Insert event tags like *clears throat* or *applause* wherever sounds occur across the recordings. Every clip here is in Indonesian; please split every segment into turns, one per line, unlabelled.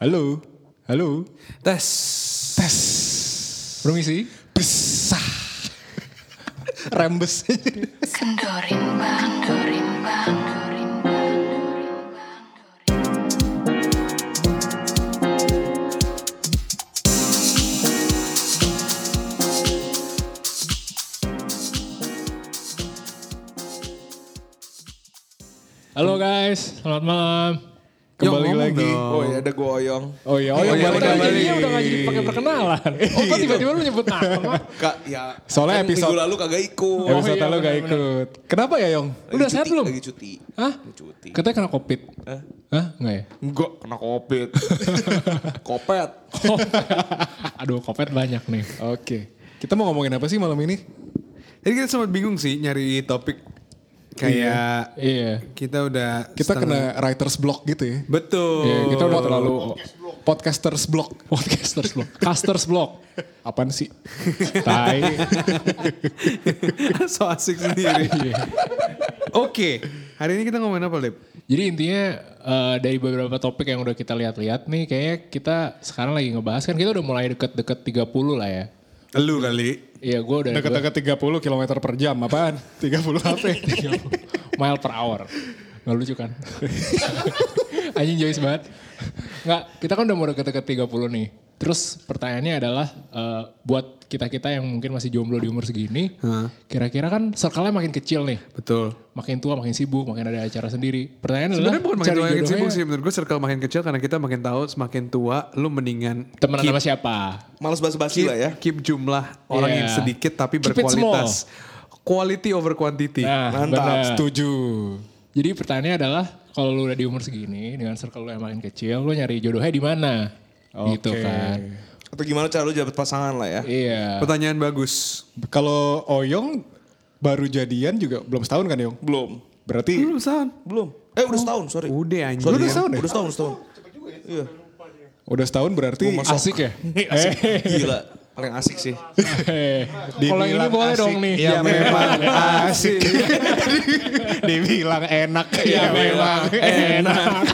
Halo. Halo.
Tes.
Tes.
Permisi.
Besah. Rembes.
Kendorin bang, kendorin bang, kendorin bang, kendorin bang, kendorin bang.
Halo
*laughs*
guys, selamat malam. Kembali
ngomong
lagi.
dong.
Oh ya ada goyong.
Oh iya, oh iya,
Oh iya,
balik
balik
lagi.
lagi.
Ini udah gak jadi pakai perkenalan. Oh, kok tiba-tiba lu nyebut *laughs* nama? Oh
Kak ya.
Soalnya
kan
episode-
minggu lalu kagak ikut.
Episode
Oh iya,
lo gak
benar-benar.
ikut. Kenapa ya, Yong?
Lagi
Udah
cuti,
sehat belum?
Lagi cuti.
Hah?
Lagi cuti.
Katanya kena covid.
Hah?
Hah? Enggak *laughs* ya?
Enggak kena covid. *laughs* Kopet.
Aduh, covid banyak nih. Oke. Kita mau ngomongin apa sih malam ini?
Jadi kita sempat bingung sih nyari topik kayak
Iya.
kita udah
Kita
setengah-
kena writer's block gitu ya.
betul.
Iya, kita udah terlalu podcasters block, *laughs* podcasters block, casters block. Apaan *laughs* sih? Tai.
*laughs* so asik sendiri.
Iya.
Oke, hari ini kita ngomongin apa, Lip?
Jadi intinya eh, dari beberapa topik yang udah kita lihat-lihat nih kayaknya kita sekarang lagi ngebahas kan kita udah mulai deket-deket 30 lah ya.
Lu kali.
Iya gue udah
Deket-deket 30 km per jam
*laughs*
apaan? 30 HP.
gua- *laughs* mile per hour. Nggak lucu kan? *laughs* Anjing joyce banget. Nggak, kita kan udah mau deket-deket 30 nih. Terus pertanyaannya adalah eh, buat kita-kita yang mungkin masih jomblo di umur segini,
Hah.
kira-kira kan circle-nya makin kecil nih.
Betul.
makin tua makin sibuk makin ada acara sendiri pertanyaan adalah
Sebenarnya bukan makin
cari
tua makin
jodohnya
sibuk sih menurut gue circle makin kecil karena kita makin tahu semakin tua lu mendingan
temenan
keep-
sama siapa
Males basa-basi
keep,
lah ya.
keep jumlah orang
Iya.
yang sedikit tapi
Keep it
berkualitas. Quality over quantity.
nah
Mantap,
benar.
Setuju.
jadi pertanyaannya adalah kalau lu udah di umur segini dengan circle lu yang makin kecil lu nyari jodohnya di mana gitu kan
Atau gimana cara lu dapat pasangan lah ya.
iya
Pertanyaan bagus.
Kalau Oyong baru jadian juga belum setahun kan Yong?
Belum.
Berarti
Lu San.
Belum. Eh udah setahun, sorry.
Udah anjing.
Sorry,
Lu udah
ya.
setahun ya?
Udah setahun, setahun. Iya.
udah setahun berarti
asik
*laughs*
ya
Gila. Paling asik sih.
Eh, kalau yang ini
Dibilang
boleh
asik, Iya,
dong nih
Ya,
*laughs*
memang asik.
*laughs* dibilang enak. Iya,
Ya memang enak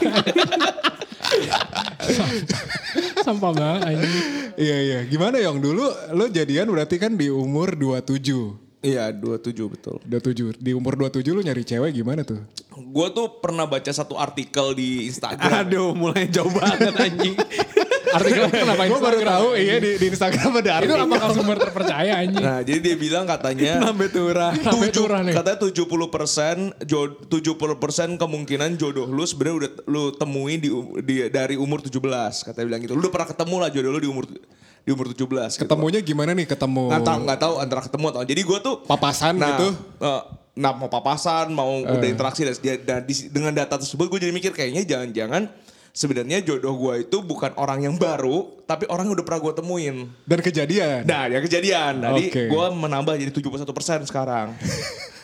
*laughs* sampah banget anjing.
Iya iya. Gimana Yong? Dulu lo jadian berarti kan di umur 27.
Iya, 27 betul.
27. Di umur 27 lu nyari cewek gimana tuh?
Gue tuh pernah baca satu artikel di Instagram.
Aduh, mulai jauh banget anjing.
artikelnya kenapa
Gue baru
Instagram?
tahu iya di, di Instagram ada
itu
artikel.
apakah sumber terpercaya anjing
Nah, jadi dia bilang katanya
Sampai turah.
Sampai
tujuh,
curah nih.
katanya 70 persen, 70 kemungkinan jodoh lu sebenarnya udah t- lu temui di, u- di- dari umur 17. Katanya bilang gitu. Lu udah pernah ketemu lah jodoh lu di umur di umur 17. gitu.
Ketemunya gimana nih ketemu?
Nggak tahu, nggak tahu antara ketemu atau jadi gue tuh
Papasan
nah,
gitu? Eh.
eh, nah mau papasan, mau udah interaksi dan, dia- dan di- dengan data tersebut gue jadi mikir kayaknya jangan-jangan sebenarnya jodoh gue itu bukan orang yang baru, tapi orang yang udah pernah gue temuin.
Dan kejadian.
Nah, yang kejadian. Jadi
Oke.
gue menambah jadi 71% sekarang.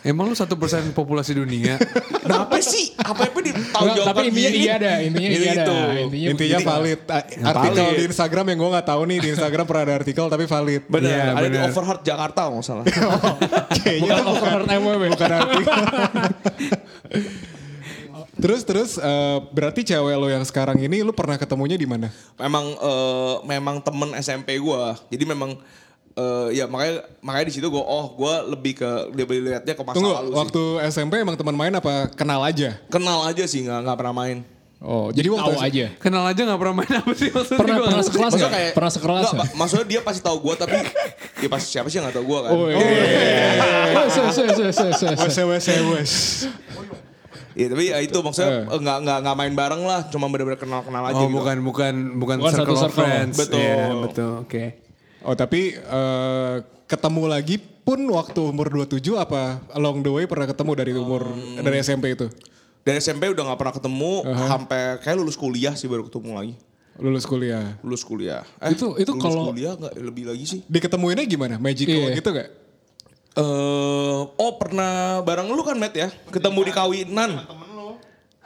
Emang lu satu persen
*laughs*
populasi dunia?
Nah, apa sih? Apa apa di tahu
Nggak, tapi intinya iya ada, intinya iya ada. Intinya,
Intinya
Jadi-
valid. A- Artikel
valid.
di Instagram yang gue nggak tahu nih di Instagram pernah ada artikel tapi valid.
Benar,
Iya,
ada di
benar.
Overheart Jakarta kalau
*laughs*
nggak salah.
Kayaknya
bukan
tuh bukan,
overheard MWB.
bukan artikel. terus terus eh, berarti cewek lo yang sekarang ini lo pernah ketemunya di mana?
memang eh, memang temen SMP gua. Jadi memang eh, ya makanya makanya di situ gua oh gua lebih ke lebih lihatnya ke masa
Tunggu,
lalu sih.
waktu SMP emang teman main apa kenal aja?
Kenal aja sih nggak nggak pernah main.
Oh, jadi waktu
tahu aja.
Kenal aja gak pernah main apa sih maksudnya?
Pernah-
gua
pernah
nggak
sekelas
ngerti.
nggak? Pernah sekelas
nggak,
nggak?
Pak. maksudnya dia pasti tahu gua
*laughs*
tapi dia pasti siapa sih yang nggak tahu gua kan.
Oh, iya. Wes, wes, wes, wes, wes,
*laughs*
wes.
Wes, wes, wes.
Iya, tapi ya itu maksudnya eh, nggak nggak nggak main bareng lah, cuma bener-bener kenal-kenal aja
Oh
gitu.
bukan bukan bukan,
Bukan satu
circle of
circle.
friends.
Betul.
Iya, betul. Oke.
Oh, tapi eh, ketemu lagi pun waktu umur 27 apa along the way pernah ketemu dari umur
Hmm.
dari SMP itu?
Dari SMP udah nggak pernah ketemu, sampai kayak lulus kuliah sih baru ketemu lagi.
Lulus kuliah.
Lulus kuliah. Eh,
Itu- itu
lulus
kalau-
kuliah nggak lebih lagi sih.
Diketemuinnya gimana? Magical
Iya.
gitu gak?
Eh, oh pernah bareng lu kan, Matt ya? Ketemu di kawinan.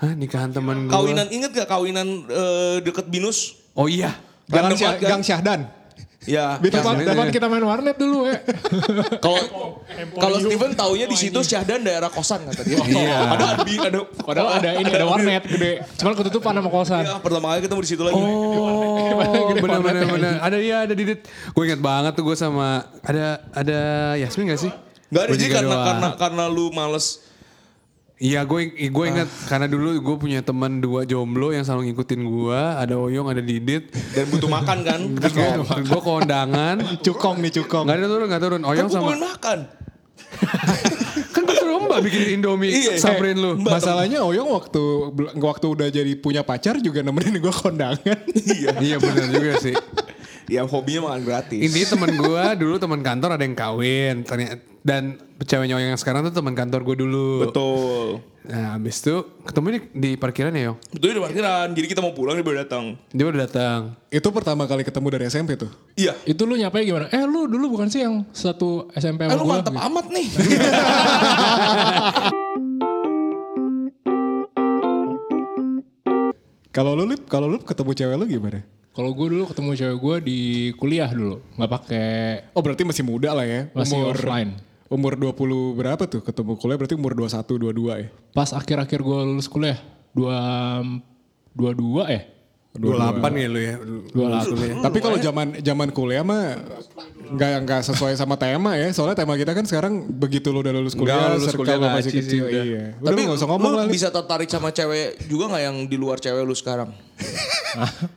Hah nikahan teman gue.
Kawinan inget gak kawinan eh, deket Binus?
Oh iya.
Gang,
Random
Syah,
banget kan?
Gang Syahdan.
Ya. Nah,
Depan, depan kita main warnet dulu ya.
Kalau kalau Steven taunya di situ Syahdan daerah kosan kata dia. *laughs* Iya. Ada Abi, ada
Padahal ada ini ada warnet gede. Cuman ketutupan sama kosan.
Ya, pertama kali ketemu di situ lagi.
Oh,
Gede
benar benar
warnetnya
benar. Ada ya, ada Didit. Gue ingat banget tuh gue sama ada ada Yasmin gak sih?
Enggak ada
Gua
jadi
juga
karena
doang.
karena Ah. karena lu males
Iya, gue gue ingat karena dulu gue punya teman dua jomblo yang selalu ngikutin gue. Ada Oyong, ada Didit.
dan butuh makan kan.
Terus gue gue kondangan.
Cukong nih cukong.
Gak ada turun, gak turun.
Kan
Oyong
gue
sama
pengen makan.
kan gue suruh mbak bikin Indomie
Iya,
samperin lu.
Mbak,
Masalahnya Oyong waktu waktu udah jadi punya pacar juga nemenin gue kondangan.
Iya.
Iya benar juga sih.
Ya hobinya makan gratis.
Intinya teman gue dulu teman kantor ada yang kawin. Ternyata, dan ceweknya Oyong yang sekarang tuh teman kantor gue dulu.
Betul.
Nah abis itu ketemu di, di parkiran ya Yong.
Betul di parkiran. Jadi kita mau pulang dia baru datang.
Dia udah datang.
Itu pertama kali ketemu dari SMP tuh.
Iya.
Itu lu nyapai gimana? Eh lu dulu bukan sih yang satu SMP
Eh
sama
lu
gua?
mantep
Gitu.
amat nih.
Kalau lu lip, kalau lu ketemu cewek lu gimana?
Kalau gue dulu ketemu cewek gue di kuliah dulu, nggak pakai
Oh berarti masih muda lah ya.
Masih
umur
offline.
Umur 20 berapa tuh ketemu kuliah berarti umur 21 22 ya.
pas akhir-akhir gue lulus kuliah dua dua dua ya
28 ya lu ya.
dua delapan.
Tapi kalau zaman zaman kuliah mah nggak nggak sesuai sama tema ya. Soalnya tema kita kan sekarang begitu lu udah lulus kuliah,
Nggak, lulus
circle
kuliah
lu masih
ngaci sih
kecil.
udah.
Iya. Udah lu nggak usah ngomong
lu
lah. Lip.
bisa tertarik sama cewek juga nggak yang di luar cewek lu sekarang?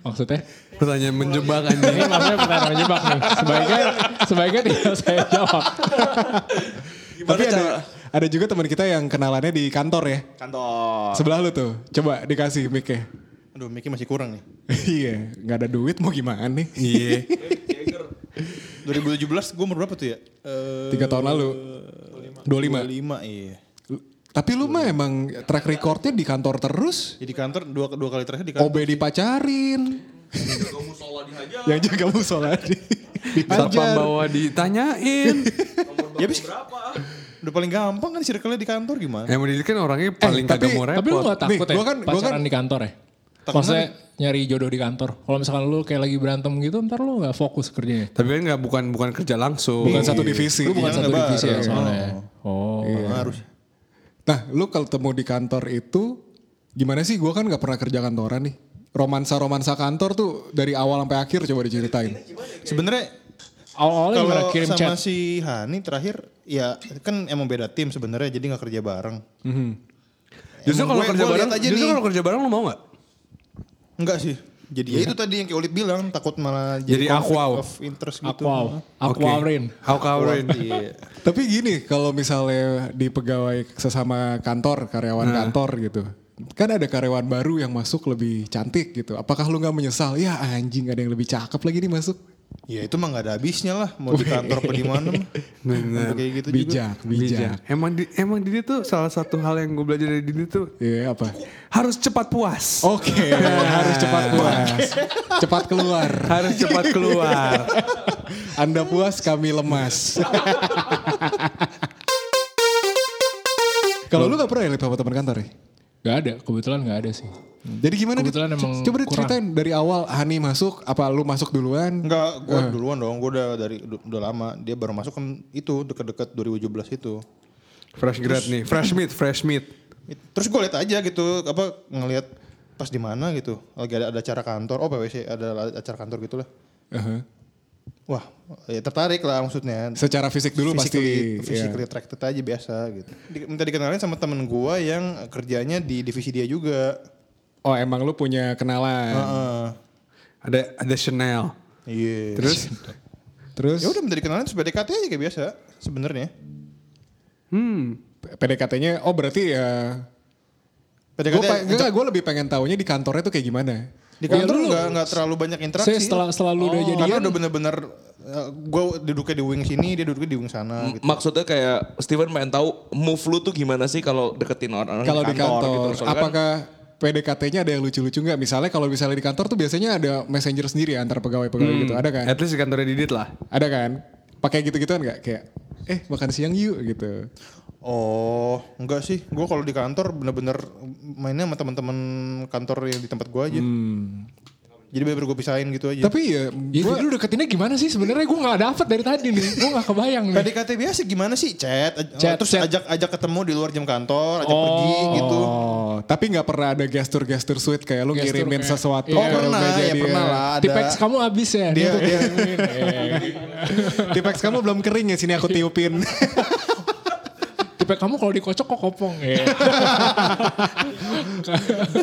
Maksudnya?
Pertanyaan menjebak anjing.
Ini maksudnya pertanyaan menjebak nih. Sebaiknya, sebaiknya tidak saya jawab.
Gimana
Tapi ada
cara?
ada juga teman kita yang kenalannya di kantor ya.
Kantor.
Sebelah lu tuh. Coba dikasih mic-nya.
Aduh, Miki masih kurang nih.
*laughs* Iya, nggak ada duit mau gimana nih?
Iya.
2017 gue umur berapa tuh ya? Eh,
Tiga tahun lalu. 25.
25 iya.
Tapi lu mah emang track recordnya di kantor terus.
Jadi kantor dua dua kali terakhir di kantor.
OB dipacarin. Yang jaga musola di
Satpam
dihajar.
bawa ditanyain.
Ya habis Udah paling gampang kan circle-nya di kantor gimana?
Emang Didit kan orangnya paling
tapi-
kagak mau repot.
Tapi lu gak
Nih,
takut ya
gua kan- gua
pacaran
kan-
di kantor ya? Maksudnya nyari jodoh di kantor. Kalau misalkan lu kayak lagi berantem gitu ntar lu gak fokus kerjanya.
Tapi kan gak, bukan bukan kerja langsung.
Bukan satu divisi.
Lu bukan
Iya.
Satu
Nggak
divisi ya
bareng.
soalnya. ya. Oh.
Harus.
Nah, lu kalau ketemu di kantor itu gimana sih? Gua kan nggak pernah kerja kantoran nih. Romansa-romansa kantor tuh dari awal sampai akhir coba diceritain.
Sebenarnya
Awalnya
kalau
Oh, gimana kirim
sama
chat?
si Hani terakhir ya kan emang beda tim sebenarnya jadi nggak kerja bareng.
Justru
Emang
kalau
gue-
kerja
gue lihat
bareng,
aja
justru
nih.
kalau kerja bareng lu mau gak?
Enggak sih. Jadi ya itu tadi yang kayak Olip bilang takut malah
Jadi
jadi, conflict
akwau.
of interest gitu.
Aku wow. Aku awalin.
Aku kawin.
Iya.
Tapi gini, kalau misalnya di pegawai sesama kantor, karyawan
Nah.
kantor gitu. Kan ada karyawan baru yang masuk lebih cantik gitu. Apakah lu nggak menyesal? Ya anjing ada yang lebih cakep lagi nih masuk.
Ya itu mah nggak ada habisnya lah mau di kantor apa di mana mah. Sampai Kayak gitu juga.
bijak, bijak.
Iya. Emang di, emang Didit tuh salah satu hal yang gue belajar dari Didit tuh
Iya apa?
harus cepat puas.
Oke,
*laughs*
harus cepat puas. cepat keluar.
Harus cepat keluar.
Anda puas, kami lemas. Kalau lu gak pernah ya Lip, sama teman kantor ya?
Gak ada. Kebetulan gak ada sih.
Jadi gimana? Dit?
Kebetulan emang
Coba deh ceritain dari awal Hani masuk, apa lu masuk duluan?
Enggak, gue duluan dong. Gue udah dari udah lama. Dia baru masuk kan itu deket-deket 2017 itu.
Fresh grad nih, fresh meat, fresh meat.
It- Terus gue lihat aja gitu apa ngelihat pas di mana gitu. Lagi ada ada acara kantor. Oh PwC ada acara kantor gitulah.
Uh-huh.
Wah, ya tertarik lah maksudnya.
Secara fisik dulu pasti.
Physically-
iya.
physically attracted aja biasa gitu. Di- minta dikenalin sama temen gue yang kerjanya di divisi dia juga.
iya. Oh emang lu punya kenalan.
Heeh.
Ada ada Chanel.
Iya.
Terus
Terus
Ya udah minta dikenalin terus PDKT aja kayak biasa sebenarnya.
hmm
PDKT-nya, oh berarti ya...
PDKT
Gue lebih pengen taunya di kantornya tuh kayak gimana.
di kantor nggak nggak terlalu banyak interaksi.
Saya setelah, setelah lu udah
Oh,
jadian.
Karena udah bener-bener gue duduknya di wing sini, dia duduknya di wing sana gitu.
Maksudnya kayak Steven pengen tahu move lu tuh gimana sih kalau deketin orang-orang
Kalau di kantor,
gitu. Soalnya kan
apakah PDKT-nya ada yang lucu-lucu nggak? Misalnya kalau misalnya di kantor tuh biasanya ada messenger sendiri ya antar pegawai-pegawai gitu, ada kan?
at least di kantornya Didit lah.
Ada kan? Pakai gitu-gituan nggak? Kayak, eh makan siang yuk gitu.
Oh, enggak sih. Gue kalau
Hmm.
di kantor bener-bener mainnya sama teman-teman kantor yang di tempat gue aja. Jadi bener gue pisahin gitu aja.
Tapi ya,
Ya
gua-
jadi lu deketinnya gimana sih sebenarnya gue gak dapet dari tadi nih. Gue gak kebayang nih.
PDKT biasa gimana sih? Chat, aj-
Chat,
terus
chat.
ajak ajak ketemu di luar jam kantor, ajak pergi gitu.
Oh, tapi nggak pernah ada gestur-gestur sweet kayak lu
Gestur
ngirimin
kayak-
sesuatu. Iya,
Oh,
ke
pernah,
meja
ya
dia.
pernah lah ada.
Tipex kamu abis ya.
Dia,
Gitu. iya.
dia
Tipex kamu belum kering ya sini aku
*laughs*
tiupin.
Tipex kamu kalau dikocok kok kopong. Iya.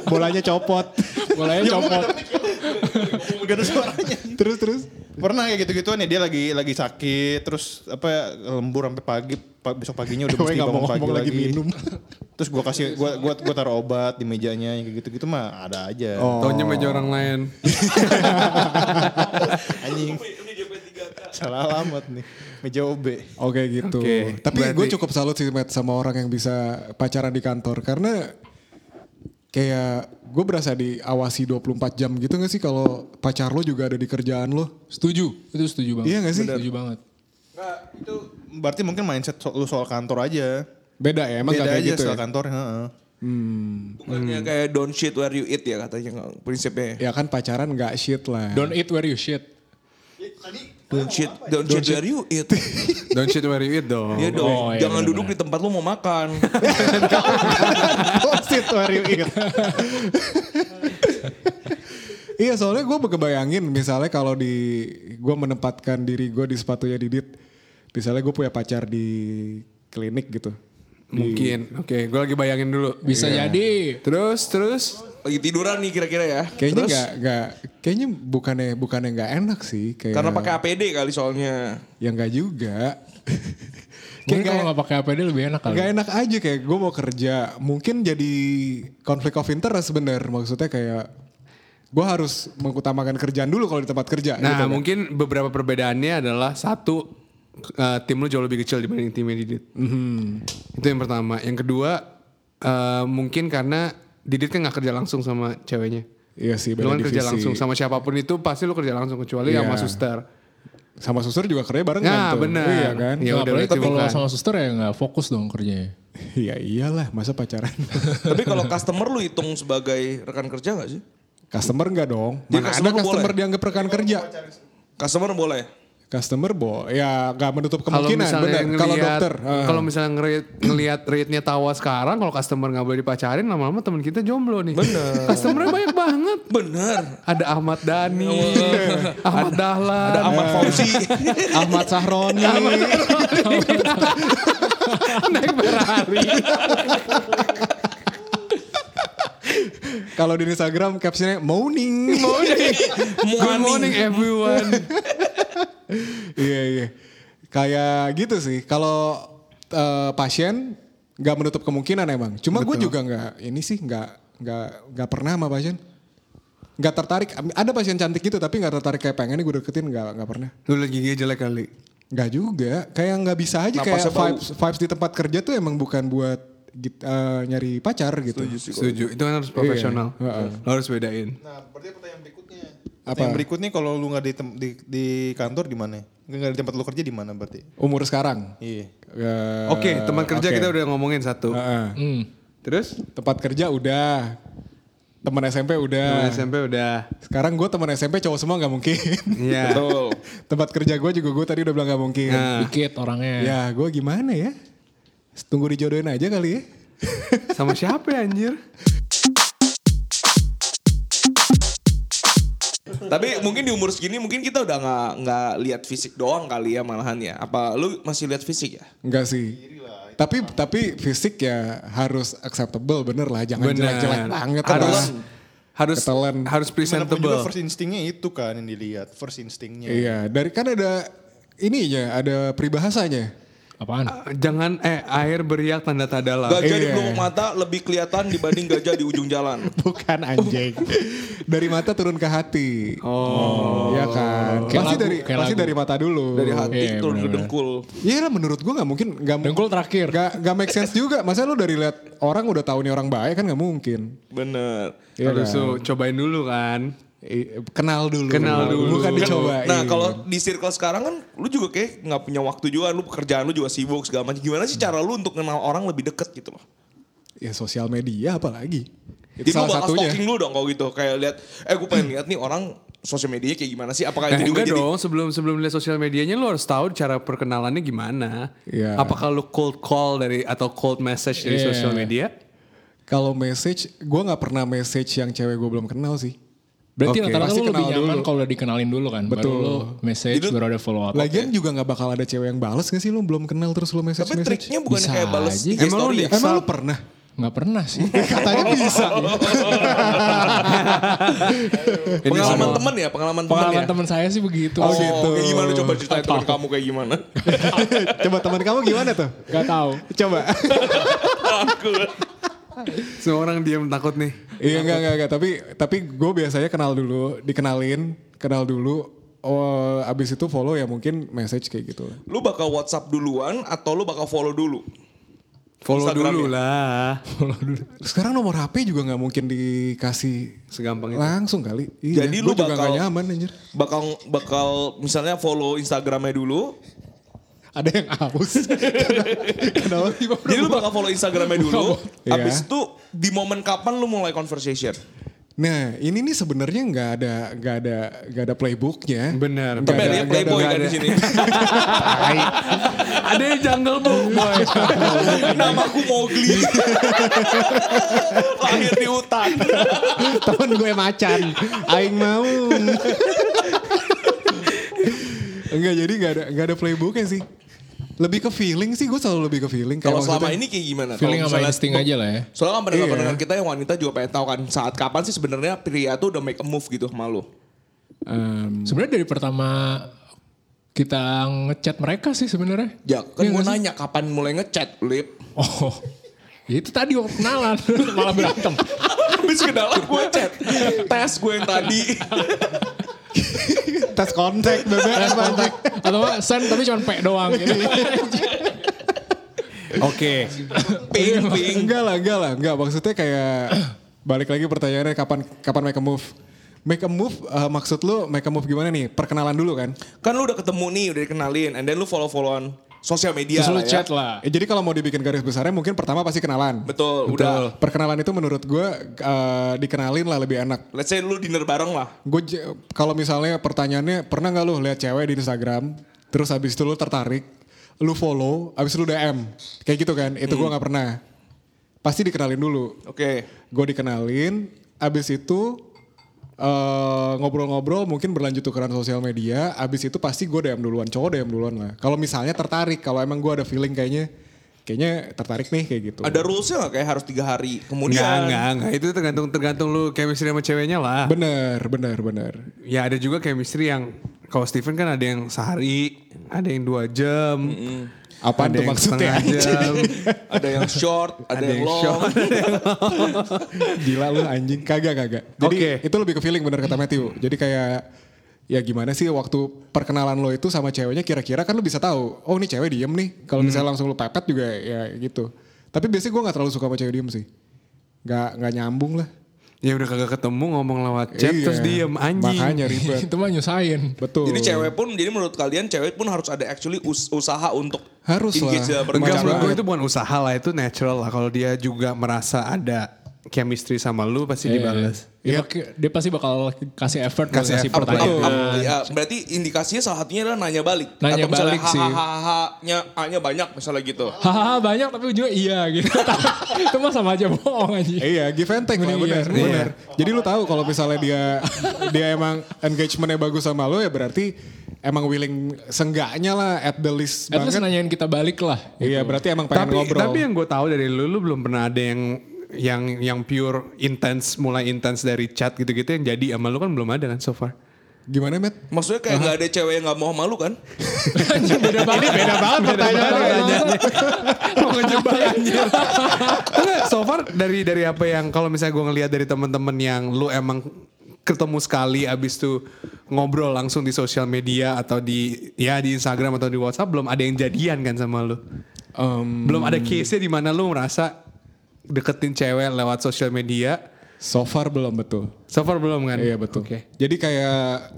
Bolanya copot.
Bolanya copot.
gak ada gitu suaranya.
*laughs* terus terus.
Pernah kayak gitu-gituan ya dia lagi lagi sakit terus apa ya, lembur sampai pagi pa- besok paginya
*laughs*
udah
Gue
mesti
nggak mau
bangun pagi
ngomong
lagi.
lagi minum.
*laughs* Terus gua kasih gua gua gua taruh obat di mejanya yang kayak gitu-gitu mah ada aja.
Oh.
Taunya meja orang lain.
Iya.
Anjing. Salah alamat nih. Meja OB.
Oke gitu.
Oke,
Tapi gue
berarti-
cukup salut sih Matt, sama orang yang bisa pacaran di kantor karena kayak gue berasa diawasi 24 jam gitu gak sih kalau pacar lo juga ada di kerjaan lo?
Setuju. Itu setuju banget.
Iya nggak sih?
Setuju banget.
Nah, itu berarti mungkin mindset so- lu soal kantor aja.
Beda ya emang
Beda
nggak kayak
aja
gitu ya?
soal kantor, heeh.
kan Bukannya kayak don't shit where you eat ya katanya nggak, prinsipnya.
Ya kan pacaran nggak shit lah.
Don't eat where you shit.
Don't shit, don't, shit where you eat. *laughs*
Don't shit where you eat dong.
Iya dong,
Oh, iya,
jangan
benar,
duduk di tempat lu mau makan.
Don't sit where you eat. *laughs* iya soalnya gue kebayangin misalnya kalau di gue menempatkan diri gue di sepatunya Didit. Misalnya gue punya pacar di klinik gitu.
Mungkin. Oke, gue lagi bayangin dulu.
Bisa jadi.
Terus, terus.
Lagi tiduran nih kira-kira ya.
Kayaknya
Terus,
nggak nggak kayaknya bukannya bukannya nggak enak sih kayak
Karena pakai APD kali soalnya.
yang Ya, nggak juga.
*laughs*
Mungkin
kayak
kalau
nggak-
nggak pakai APD lebih enak kali.
Gak enak aja kayak gue mau kerja. Mungkin jadi konflik of interest bener. Maksudnya kayak gue harus mengutamakan kerjaan dulu kalau di tempat kerja.
Nah,
gitu kan.
mungkin beberapa perbedaannya adalah satu eh, tim lu jauh lebih kecil dibanding timnya Didit.
Mhm.
Itu yang pertama. Yang kedua eh, mungkin karena Didit kan nggak kerja langsung sama ceweknya.
Iya sih,
Lu
beda
kan kerja
divisi.
langsung sama siapapun itu pasti lu kerja langsung kecuali
Iya.
sama suster.
Sama suster juga kerja bareng
Nah,
kan tuh.
bener.
Iya kan?
Iya. Ya
Nah,
udah,
apalagi
berarti
kalau
bukan.
sama suster ya nggak fokus dong kerjanya.
Iya iyalah masa
*laughs*
pacaran.
Tapi kalau customer lu hitung sebagai rekan kerja gak sih?
customer enggak dong. Mana
Jadi
Iya,
ada
customer
customer
boleh?
dianggap rekan kerja.
Customer boleh.
Customer bo, ya nggak menutup
Kalau
kemungkinan
misalnya
bener. Kalau
ngelihat-
dokter, eh,
kalau misalnya ngelihat ngelihat rate-nya tawa sekarang, kalau customer nggak boleh dipacarin, lama-lama teman kita jomblo nih. Bener. *laughs* Customernya banyak banget.
Bener.
Ada Ahmad Dhani, Ahmad Dahlan,
Ada Ahmad Fauzi.
Ahmad Sahroni,
naik Ferrari.
kalau di Instagram captionnya morning, morning.
Good morning everyone.
Iya iya. Kayak gitu sih. Kalau eh, pasien nggak menutup kemungkinan emang. Cuma gue juga nggak ini sih nggak nggak nggak pernah sama pasien. Nggak tertarik. Ada pasien cantik gitu tapi nggak tertarik kayak pengen gue deketin nggak nggak pernah.
Lu lagi gigi jelek kali.
Nggak juga. Kayak nggak bisa aja
Nah,
kayak
Napasnya bau.
vibes vibes di tempat kerja tuh emang bukan buat git- eh, nyari pacar gitu.
Setuju. Itu kan harus profesional. Lu harus bedain.
Nah, berarti pertanyaan berikutnya.
Apa?
Pertanyaan berikutnya kalau lu nggak di, tem- di, di kantor di mana? Nggak di tempat lu kerja di mana berarti?
Umur sekarang.
Iya.
Eh,
Oke, teman
oke.
kerja
Nah.
kita udah ngomongin satu.
Heeh.
Hmm.
Terus
Tempat kerja udah. Teman SMP
teman
udah.
SMP udah.
Sekarang gue teman SMP cowok semua nggak mungkin.
Iya.
Betul.
*laughs* Tempat kerja gue juga gue tadi udah bilang nggak mungkin.
Nah,
Dikit orangnya.
Ya gue gimana ya? Tunggu dijodohin aja kali ya. *laughs*
sama siapa ya, anjir?
Tapi mungkin di umur segini mungkin kita udah nggak nggak lihat fisik doang kali ya malahan ya. Apa lu masih lihat fisik ya?
Enggak sih. Tapi tapi fisik ya harus acceptable bener lah. Jangan jelek-jelek banget.
Harus
lah.
harus
Ketelan.
harus
Gimana pun juga
presentable.
first instingnya itu kan yang dilihat, first instingnya.
Iya. Dari kan ada ininya, ada peribahasanya.
Apaan?
Jangan eh air beriak tanda tadalah.
Gajah di
iya.
pelupuk mata lebih kelihatan dibanding gajah di ujung jalan.
Bukan anjing. dari mata turun ke hati. Oh. Iya kan.
Kayak
pasti
lagu,
dari
kayak
pasti
lagu.
dari mata dulu.
Dari hati
Iya,
turun ke
benar-benar.
dengkul.
Iya lah menurut gue nggak mungkin nggak mu-
*laughs* Dengkul terakhir.
Gak, gak make sense juga. Masa lu dari lihat orang udah tahu nih orang baik kan gak mungkin.
Bener.
Iya kan?
harus lu cobain dulu kan.
I- Kenal dulu.
Kenal dulu.
Bukan dicobain.
Nah kalau di circle sekarang kan lu juga kayak nggak punya waktu juga, lu pekerjaan lu juga sibuk segala macam. Gimana sih cara lu untuk kenal orang lebih deket gitu loh?
Ya sosial media apalagi. Itu
Jadi lu
salah
bakal
satunya.
stalking dulu dong kalau gitu. Kayak lihat, eh gue pengen lihat nih orang sosial medianya kayak gimana sih. Apakah
Nah,
itu juga
enggak
jadi
dong, sebelum sebelum lihat sosial medianya lu harus tahu cara perkenalannya gimana.
Iya.
Apakah lu cold call dari atau cold message dari
Iya.
sosial media?
Kalau message, gue nggak pernah message yang cewek gue belum kenal sih.
Berarti
Oke.
rata-rata
Pasti
lu lebih
kenal
nyaman
dulu.
kalau udah dikenalin dulu kan. Baru
Betul.
lu message, baru ada follow
Oh,
up.
Lagian juga nggak bakal ada cewek yang balas nggak sih lu belum kenal terus lu message
Tapi
message.
triknya bukan
Bisa
kayak balas
aja.
IG
Emang lu
story ya?
lihat?
Emang lu pernah?
Nggak pernah sih.
*laughs*
Katanya bisa. *laughs*
Ini
Pengalaman
semua-
teman ya? Pengalaman teman
Pengalaman
ya?
teman saya sih begitu.
Oh,
gitu.
kayak gimana coba ceritain teman kamu kayak gimana?
Coba teman kamu gimana tuh?
Gak tau.
Coba. *laughs*
Semua orang diam takut nih.
Iya enggak enggak enggak tapi tapi gue biasanya kenal dulu, dikenalin, kenal dulu. Oh, abis itu follow ya mungkin message kayak gitu.
Lu bakal WhatsApp duluan atau lu bakal follow dulu?
Follow
Instagram
dulu
ya?
lah.
Sekarang nomor HP juga nggak mungkin dikasih
Segampang
*laughs*
itu.
langsung kali. Iya,
Jadi
Gua
lu
juga
bakal
nggak nyaman anjir.
bakal bakal misalnya follow Instagramnya dulu.
Ada yang *laughs* aus. Kenapa tiba-tiba
Jadi lu bakal follow Instagramnya dulu.
Iya.
Habis itu di momen kapan lu mulai conversation?
Nah, ini nih sebenarnya nggak ada nggak ada nggak ada playbooknya.
Bener.
Nggak
Tapi ada yang
nggak
playboy
nggak
kan di
ada.
sini.
ada yang jungle book boy.
Namaku Mowgli. *laughs* Lahir di hutan.
*laughs* Temen gue macan, aing *laughs* mau. Enggak jadi nggak ada nggak ada playbooknya sih. Lebih ke feeling sih, gue selalu lebih ke feeling. Kayak
Kalau selama
maksudnya-
ini kayak gimana?
Feeling
Kalau
sama
misalnya-
insting aja lah ya.
Soalnya kan pendengar-pendengar kita yang wanita juga pengen tahu kan saat kapan sih sebenarnya pria tuh udah make a move gitu sama lu.
Em,
Sebenarnya dari pertama kita ngechat mereka sih sebenarnya.
Ya, kan gue nanya kapan mulai ngechat, Lip.
Oh. Ya itu tadi waktu kenalan *laughs* malah berantem.
Habis ke dalam Iya, gue chat. Tes gue yang *laughs* tadi.
tes kontak, bebek.
Kontak. Atau enggak send tapi cuma P doang gitu.
Oke.
Ping, ping.
enggak lah, enggak lah, enggak. Maksudnya *clears throat* kayak balik lagi pertanyaannya kapan kapan make a move? Make a move eh, maksud lu make a move gimana nih? Perkenalan dulu kan?
Kan lu udah ketemu nih, udah dikenalin. And then lu follow-followan sosial media
Terus lu
lah ya.
chat
*laughs*
lah.
Eh, jadi kalau mau dibikin garis besarnya mungkin pertama pasti kenalan.
Betul,
Udah.
udah.
Perkenalan itu menurut gue eh, dikenalin lah lebih enak.
Let's say lu dinner bareng lah.
Gue j- kalau misalnya pertanyaannya pernah nggak lu lihat cewek di Instagram, terus habis itu lu tertarik, lu follow, habis itu lu DM, kayak gitu kan? Itu gua gue nggak pernah. Pasti dikenalin dulu.
Oke.
Gue dikenalin, habis itu eh, ngobrol-ngobrol mungkin berlanjut tukeran sosial media, habis itu pasti gue DM duluan, cowok DM duluan lah. Kalau misalnya tertarik, kalau emang gue ada feeling kayaknya, kayaknya tertarik nih kayak gitu.
Ada rulesnya nggak kayak harus tiga hari kemudian?
Enggak, enggak, enggak. Itu tergantung tergantung lu chemistry sama ceweknya lah.
Bener, bener, bener.
Ya ada juga chemistry yang kalau Steven kan ada yang sehari, ada yang dua jam,
Apaan tuh
ada yang
maksudnya? *laughs*
setengah jam,
*laughs* Ada yang short, ada,
ada
yang
yang
long.
short.
Gila lu anjing, kagak kagak. Jadi
Oke.
itu lebih ke feeling bener kata Matthew. Jadi kayak ya gimana sih waktu perkenalan lo itu sama ceweknya kira-kira kan lu bisa tahu. Oh ini cewek diem nih. Kalau
Hmm.
misalnya langsung lu pepet juga ya gitu. Tapi biasanya gue gak terlalu suka sama cewek diem sih. Gak, gak nyambung lah.
ya udah kagak ketemu ngomong lewat chat
Iya.
terus diem anjing.
Makanya ribet.
itu mah nyusahin.
Betul.
Jadi cewek pun, jadi menurut kalian cewek pun harus ada actually us- usaha untuk
Harus
engage
lah. Macam
dalam
Enggak menurut
pergaulan.
gue
banget.
itu bukan usaha lah itu natural lah kalau dia juga merasa ada chemistry sama lu pasti
Iya.
dibalas.
Iya. Dia, pake- dia pasti bakal kasih effort
Kasih
kasih
effort,
pertanyaan. Iya.
Ap- ap- ya, berarti indikasinya salah satunya adalah nanya balik.
Nanya
misalnya
balik sih.
Hahaha-nya A-nya banyak misalnya gitu.
Hahaha banyak tapi ujungnya iya gitu. *laughs* itu mah sama aja bohong aja.
Iya, give and take lah,
Mending
bener,
iya.
bener. Jadi lu tahu kalau misalnya dia *laughs* dia emang engagementnya bagus sama lu ya berarti emang willing senggaknya lah at the least
At
banget.
least nanyain kita balik lah.
Iya, berarti emang pengen
Gitu. Tapi
ngobrol.
tapi yang gue tahu dari lu lu belum pernah ada yang yang yang pure intense mulai intense dari chat gitu-gitu yang jadi sama lu kan belum ada kan so far.
Gimana, Matt?
Maksudnya kayak nggak ada cewek yang nggak mau malu kan?
Anjing, beda banget. beda banget
pertanyaannya. Mau ngejebak anjir. Enggak, so far dari dari apa yang kalau misalnya gue ngelihat dari temen-temen yang lu emang ketemu sekali abis itu ngobrol langsung di sosial media atau di ya di Instagram atau di WhatsApp belum ada yang jadian kan sama lu.
Em,
Belum ada case-nya di mana lu merasa deketin cewek lewat sosial media.
so far belum betul.
So far belum kan?
Iya betul.
Oke.
Jadi kayak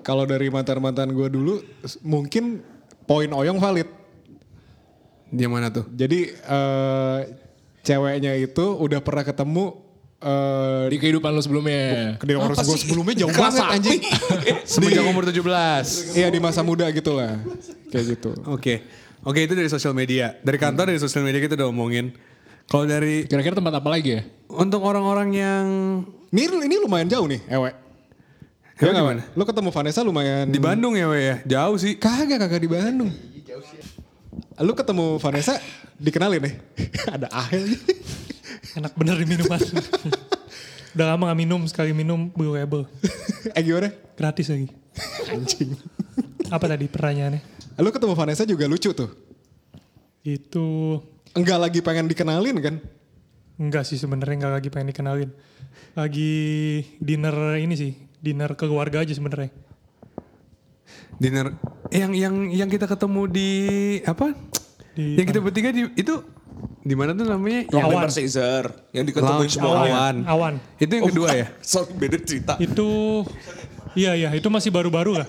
kalau dari mantan-mantan gue dulu s- mungkin poin Oyong valid.
Yang mana tuh?
Jadi eh, ceweknya itu udah pernah ketemu eh,
Di kehidupan lu sebelumnya.
di orang
Apa
gue
sih?
sebelumnya jauh
Kelas
banget
sapi.
anjing.
Semenjak umur 17.
*laughs* Iya di masa muda gitu lah. Kayak gitu.
Oke. Oke itu dari sosial media. Dari kantor dari sosial media kita udah omongin. Kalau dari
Kira-kira tempat apa lagi ya?
untuk orang-orang yang
Ini ini lumayan jauh nih, ewe.
Ewe
nggak,
gimana?
Lu ketemu Vanessa lumayan
di Bandung ya, we ya. Jauh sih.
Kagak kagak di Bandung. Lu ketemu Vanessa dikenalin nih. *laughs* Ada Ahel.
Enak bener di
*laughs*
minuman. Udah lama gak minum, sekali minum Blue Label.
eh gimana?
Gratis lagi.
Anjing.
Apa tadi pertanyaannya?
Lu ketemu Vanessa juga lucu tuh.
Itu
Enggak lagi pengen dikenalin kan?
enggak sih sebenarnya enggak lagi pengen dikenalin. Lagi dinner ini sih, dinner keluarga aja sebenarnya.
Dinner yang yang yang kita ketemu di apa?
Di
yang kita bertiga di itu di mana tuh namanya?
Yang
Yang
awan.
lebar Caesar. Yang diketemuin
Lounge
semuanya.
awan.
Awan.
Itu yang kedua ya?
*laughs* Sorry beda cerita.
Itu iya iya, itu masih baru-baru lah.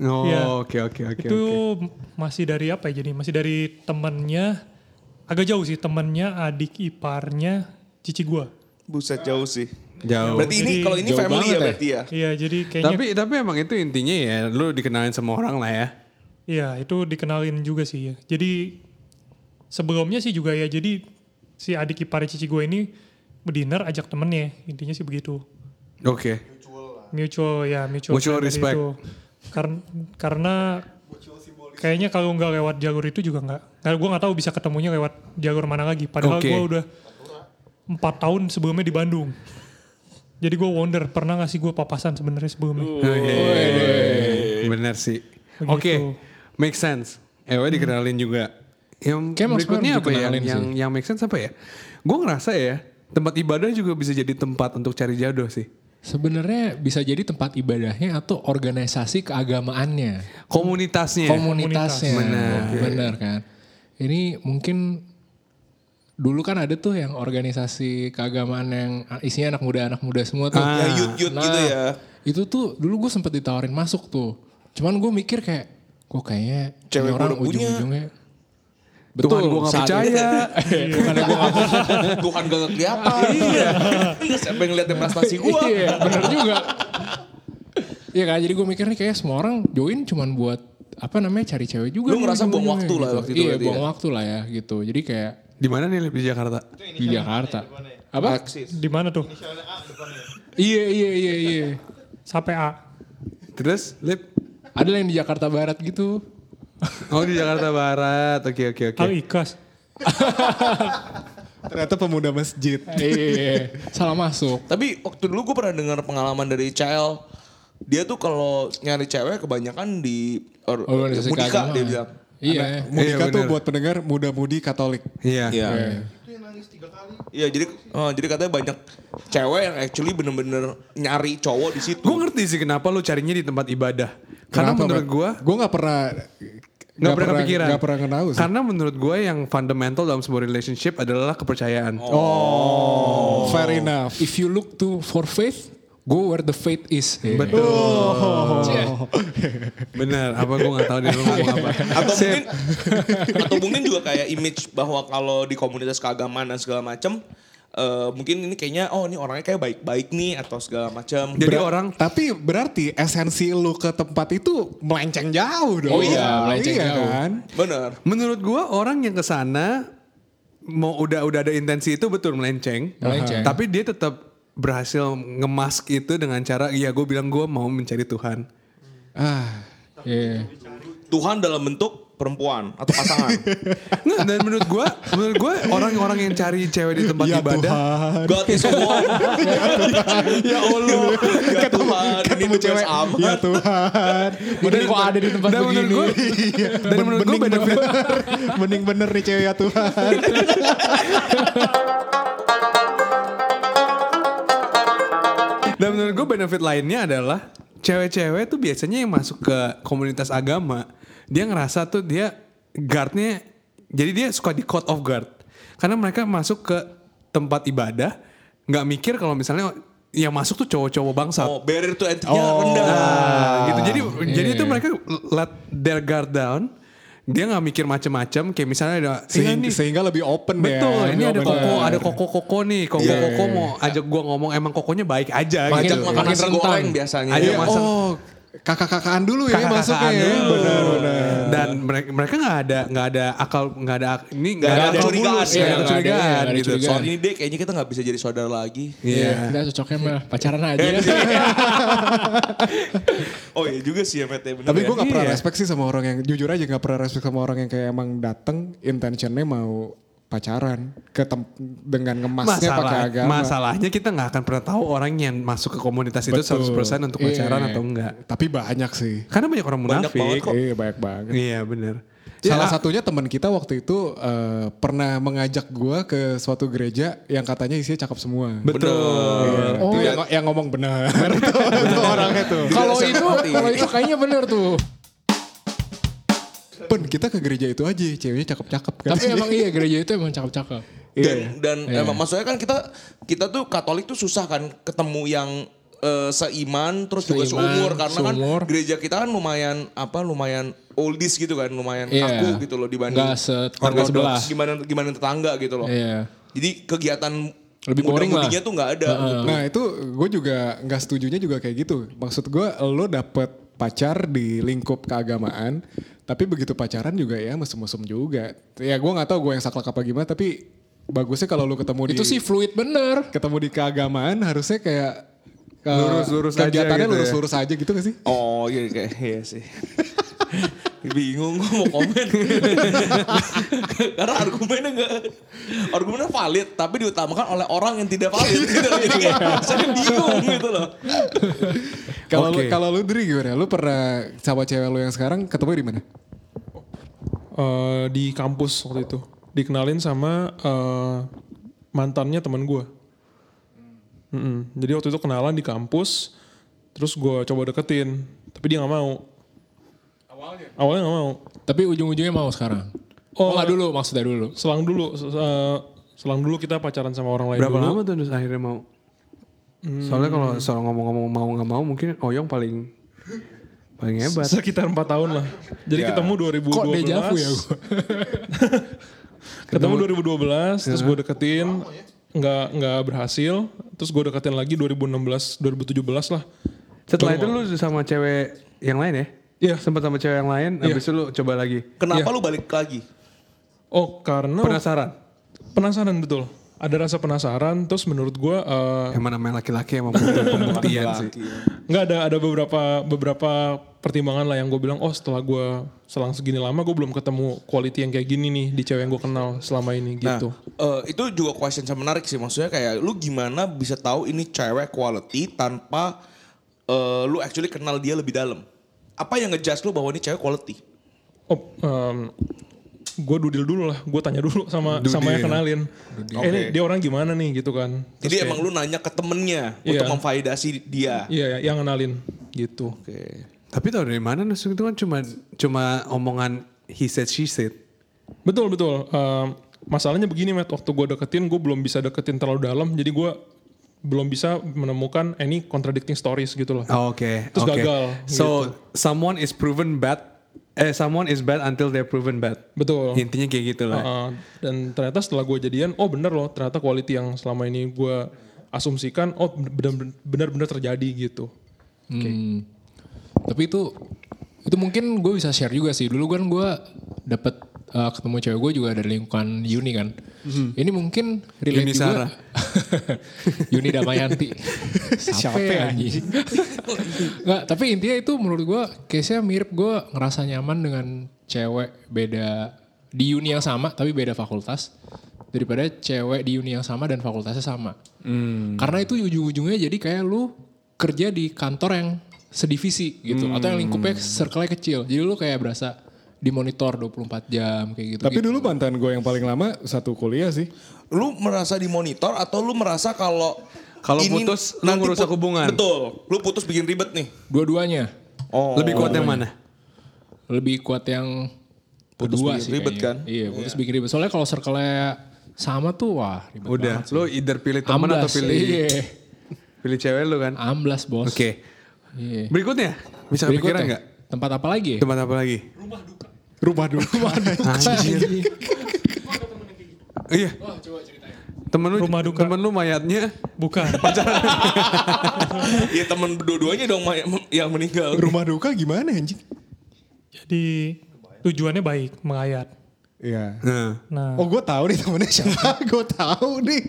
Oh,
Iya.
oke oke oke
itu
oke.
masih dari apa ya jadi masih dari temennya agak jauh sih temennya adik iparnya cici gua
Buset jauh sih.
Jauh.
Berarti ini
Jadi
kalau ini
jauh
family
banget
ya
ya.
berarti ya.
iya jadi kayaknya
Tapi tapi emang itu intinya ya lu dikenalin sama orang lah ya.
iya itu dikenalin juga sih ya jadi sebelumnya sih juga ya jadi si adik ipar cici gua ini dinner ajak temennya intinya sih begitu
Oke.
mutual ya mutual,
Mutual
friend dari
respect.
itu. karena karena kayaknya kalau nggak lewat jalur itu juga nggak nggak gue nggak tahu bisa ketemunya lewat jalur mana lagi padahal
Oke.
gue udah empat tahun sebelumnya di Bandung jadi gue wonder pernah nggak sih gue papasan sebenarnya sebelumnya
Oke. Bener Eh, sih.
Begitu.
Oke. Make sense. Ewe dikenalin juga. Yang
Kayak Mas
berikutnya
Fer
apa ya? Yang,
dikenalin
yang yang make sense apa ya? Gue ngerasa ya tempat ibadah juga bisa jadi tempat untuk cari jodoh sih.
Sebenarnya bisa jadi tempat ibadahnya atau organisasi keagamaannya.
Komunitasnya.
komunitasnya.
Iya. Benar.
Benar kan. Ini mungkin dulu kan ada tuh yang organisasi keagamaan yang isinya anak muda-anak muda semua tuh. Nah,
Ya yut-yut gitu ya.
Itu tuh dulu gue sempet ditawarin masuk tuh. Cuman gue mikir kayak, kok kayaknya ini
Cewek
orang
udah punya.
ujung-ujungnya.
Tuhan gue gak
saat ini-
percaya.
*laughs* Bukan yang gue gak
*laughs* Tuhan gak kelihatan. Iya. Siapa yang ngeliatin prestasi gua?
Iya, bener juga. Iya kan, jadi gue mikir nih kayak semua orang join cuman buat apa namanya cari cewek juga.
Lu
nih
ngerasa buang
ujung-ujungnya
waktu lah
gitu.
waktu itu
Iya,
berarti
buang
ya?
waktu lah ya gitu. Jadi kayak
*laughs* Di mana nih Lip, di Jakarta?
di Jakarta. Apa?
di mana tuh
Iya, iya, iya, iya.
sampai A
Terus Lip?
Ada yang di Jakarta Barat gitu.
Oh di Jakarta Barat. Oke oke oke.
Al Ikhlas
Ternyata pemuda masjid.
Iya, iya, iya. Salah masuk.
Tapi waktu dulu gue pernah dengar pengalaman dari Cel. Dia tuh kalau nyari cewek kebanyakan Oh, di or,
Organisasi
mudika
keagamaan.
dia bilang.
Iya.
Mudika
Iya,
tuh
bener.
buat pendengar muda-mudi Katolik.
Iya.
Iya. Iya jadi eh, jadi katanya banyak cewek yang actually bener-bener nyari cowok di situ.
Gue ngerti sih kenapa lu carinya di tempat ibadah. Karena menurut gue
gue nggak pernah
nggak pernah kepikiran.
nggak pernah kenal sih.
Karena menurut gue yang fundamental dalam sebuah relationship adalah kepercayaan.
Fair enough.
If you look to for faith, go where the faith is. Iya.
Betul. Bener. Apa gue nggak tahu dia lu
*laughs*
ngomong apa.
atau mungkin atau mungkin juga kayak image bahwa kalau di komunitas keagamaan dan segala macem eh, mungkin ini kayaknya oh ini orangnya kayak baik-baik nih atau segala macam
Jadi orang
Tapi berarti esensi lu ke tempat itu melenceng jauh dong.
Oh iya, melenceng
Iya
jauh.
kan?
bener
menurut gue orang yang kesana mau udah udah ada intensi itu betul melenceng.
Melenceng.
Tapi dia tetap berhasil ngemask itu dengan cara ya gue bilang gue mau mencari Tuhan.
Ah,
Iya.
Tuhan dalam bentuk perempuan atau pasangan *laughs*
Nggak, dan menurut gue menurut gue orang-orang yang cari cewek di tempat
Iya,
ya
ibadah
Tuhan.
God is *laughs* one ya Allah ya Tuhan ini
Ketemu
tugas
cewek.
*laughs*
amat.
Ya Tuhan.
Mending kok ada di tempat
dan menurut
begini.
gue dan menurut gue
Mending bener, *laughs* mending bener nih cewek ya Tuhan.
Dan menurut gue benefit lainnya adalah cewek-cewek tuh biasanya yang masuk ke komunitas agama, dia ngerasa tuh dia guardnya, jadi dia suka di caught off guard. Karena mereka masuk ke tempat ibadah, nggak mikir kalau misalnya yang masuk tuh cowok-cowok bangsat.
oh barrier to entry-nya rendah
Nah, gitu. Jadi jadi itu mereka let their guard down. dia nggak mikir macem-macem kayak misalnya ada
Sehingga,
"Iya nih,
sehingga lebih open ya.
Betul, ini ada
Bener.
koko, ada koko-koko nih. Koko-koko mau ajak gua ngomong emang kokonya baik
Ajak
aja gitu.
makan
Makin
nasi
rentan.
goreng biasanya.
Ayo
Iya.
masak
Oh, kakak-kakaan dulu ya
kakak-kakak
masuknya ya.
dulu.
Benar, benar.
Dan mereka mereka nggak ada nggak ada akal nggak ada ak- ini nggak ada,
ada
akal
curigaan,
mulus,
iya,
nggak
nggak
ada
ada, iya,
kecurigaan
nggak ada
gitu.
curigaan.
Soal ini deh kayaknya kita nggak bisa jadi saudara lagi.
Iya.
Kita cocoknya mah pacaran
Iya,
aja.
Oh iya juga sih ya PT bener
Tapi
ya.
gue gak pernah
Iya.
respect sih sama orang yang, jujur aja gak pernah respect sama orang yang kayak emang dateng intentionnya mau pacaran ke tem- dengan ngemasnya pakai
Masalah,
agama.
masalahnya kita nggak akan pernah tahu orang yang masuk ke komunitas itu
Betul.
100% untuk
Iya.
pacaran atau enggak.
Tapi banyak sih.
Karena banyak orang
Banyak
munafik.
banget kok.
Iya banyak banget.
Iya benar.
Salah
Ya,
satunya teman kita waktu itu eh, pernah mengajak gua ke suatu gereja yang katanya isinya cakep semua.
betul.
Iya.
Oh, yang, yang ngomong benar. Tuh, itu orangnya tuh.
Kalau
Tidak
itu,
seperti
kalau
ini.
itu kayaknya bener tuh.
Pen, kita ke gereja itu aja, ceweknya cakep-cakep kan.
Tapi emang iya gereja itu emang cakep-cakep.
dan
iya.
dan emang maksudnya kan kita kita tuh Katolik tuh susah kan ketemu yang eh, seiman terus juga
Seiman,
seumur karena
seumur.
kan gereja kita kan lumayan apa lumayan oldies gitu kan lumayan
Iya.
kaku gitu loh dibanding
Nggak setortor belah.
gimana gimana tetangga gitu loh
Iya.
jadi kegiatan
Lebih boring lah.
muda-mudinya tuh nggak ada gitu.
Nah itu gue juga nggak setujunya juga kayak gitu. Maksud gue lo dapet pacar di lingkup keagamaan, tapi begitu pacaran juga ya mesum-mesum juga. Ya gue nggak tahu gue yang saklek apa gimana, tapi bagusnya kalau lo ketemu di
Itu sih fluid bener.
ketemu di keagamaan harusnya kayak eh,
Lurus-lurus aja
kegiatannya
gitu ya.
lurus-lurus aja gitu gak sih?
oh iya kayak iya sih *laughs* bingung gue mau komen *laughs* karena argumennya nggak argumennya valid tapi diutamakan oleh orang yang tidak valid *laughs* gitu loh. jadi kayak saya bingung gitu loh
Kalau
Oke.
lu- kalau lu dri gimana? Lu pernah sama cewek lu yang sekarang ketemu di mana?
eh, di kampus waktu itu dikenalin sama eh, mantannya teman gue. Mm-mm. Jadi waktu itu kenalan di kampus, terus gue coba deketin, tapi dia nggak mau. Awalnya? Awalnya nggak mau.
Tapi ujung-ujungnya mau sekarang. Oh, nggak dulu maksudnya dulu.
Selang dulu, se- se- selang dulu kita pacaran sama orang lain *laughs*
Berapa
dulu.
lama tuh Nus akhirnya mau? Soalnya kalau soal ngomong-ngomong mau nggak mau mungkin Oyong paling paling hebat.
Sekitar 4 tahun lah. Jadi ketemu 2012.
Kok deja vu ya gue?
Ketemu 2012, terus gue deketin, nggak nggak berhasil. Terus gue deketin lagi 2016, 2017 lah.
Setelah itu lu sama cewek yang lain ya?
Iya.
Sempat sama cewek yang lain, habis itu lu coba lagi.
Kenapa lu balik lagi?
Oh karena
Penasaran?
penasaran betul. Ada rasa penasaran. Terus menurut gue eh,
Emang namanya laki-laki emang butuh pembuktian sih.
nggak ada ada beberapa beberapa pertimbangan lah yang gue bilang oh setelah gue selang segini lama gue belum ketemu quality yang kayak gini nih di cewek yang gue kenal selama ini
Nah.
gitu.
Eh, itu juga question yang menarik sih maksudnya kayak lu gimana bisa tahu ini cewek quality tanpa eh, lu actually kenal dia lebih dalam. Apa yang ngejudge lu bahwa ini cewek quality?
Oh, gue dudil dulu lah, gue tanya dulu sama sama yang kenalin. Eh, ini dia orang gimana nih gitu kan?
Jadi emang lu nanya ke temennya untuk
Iya.
memvalidasi dia.
Iya, yang kenalin gitu.
Oke.
Tapi tau dari mana Nus? Itu kan cuma cuma omongan he said she said.
Betul betul. Um, masalahnya begini, Matt. Waktu gue deketin, gue belum bisa deketin terlalu dalam. Jadi gue belum bisa menemukan any contradicting stories gitu loh.
Oh, Oke.
Terus
oke.
gagal, gitu.
So someone is proven bad. Eh someone is bad until they're proven bad.
Betul.
Intinya kayak gitu lah.
Uh, dan ternyata setelah gue jadian, oh bener loh. Ternyata quality yang selama ini gue asumsikan, oh bener- bener-bener terjadi gitu.
Hmm. Tapi itu itu mungkin gue bisa share juga sih. Dulu kan gue dapet uh, ketemu cewek gue juga dari lingkungan Uni kan. Ini mungkin relate
Uni
juga. *laughs*
Sarah.
Uni Damayanti. *laughs* Siapa ya anjing? Nggak, tapi intinya itu menurut gue case-nya mirip gue ngerasa nyaman dengan cewek beda di uni yang sama tapi beda fakultas daripada cewek di uni yang sama dan fakultasnya sama. Karena itu ujung-ujungnya jadi kayak lu kerja di kantor yang sedivisi gitu atau yang lingkupnya circle-nya kecil. Jadi lu kayak berasa dimonitor 24 jam kayak gitu.
Tapi dulu mantan gue yang paling lama satu kuliah sih.
Lu merasa dimonitor atau lu merasa kalau
Kalau
ini
putus, lu
nanti
ngerusak
put-
hubungan.
Betul. Lu putus bikin ribet nih.
dua-duanya
Oh.
Lebih kuat yang mana?
lebih kuat yang
Putus
kedua
bikin
sih
ribet
kayaknya.
kan?
Iya, putus bikin ribet. Soalnya kalau circle-nya sama tuh wah ribet
Udah.
banget.
Lu either pilih teman atau
Amblas,
pilih
Iya.
pilih cewek lu kan?
Amblas, Bos.
Oke.
Iya.
Berikutnya
Berikutnya,
bisa kepikiran nggak?
Tempat apa lagi? ya?
Tempat apa lagi? Rumah duka.
Rumah duka. Rumah
*laughs*
duka.
Anjir.
Iya. Temen lu,
Rumah duka.
temen lu mayatnya
*laughs*
Bukan.
Iya temen dua-duanya dong ma- yang meninggal.
Rumah duka gimana anjing?
Jadi tujuannya baik menghayat.
Iya.
Nah,
Nah,
Oh gue tahu nih temennya siapa, *laughs* gue tahu nih.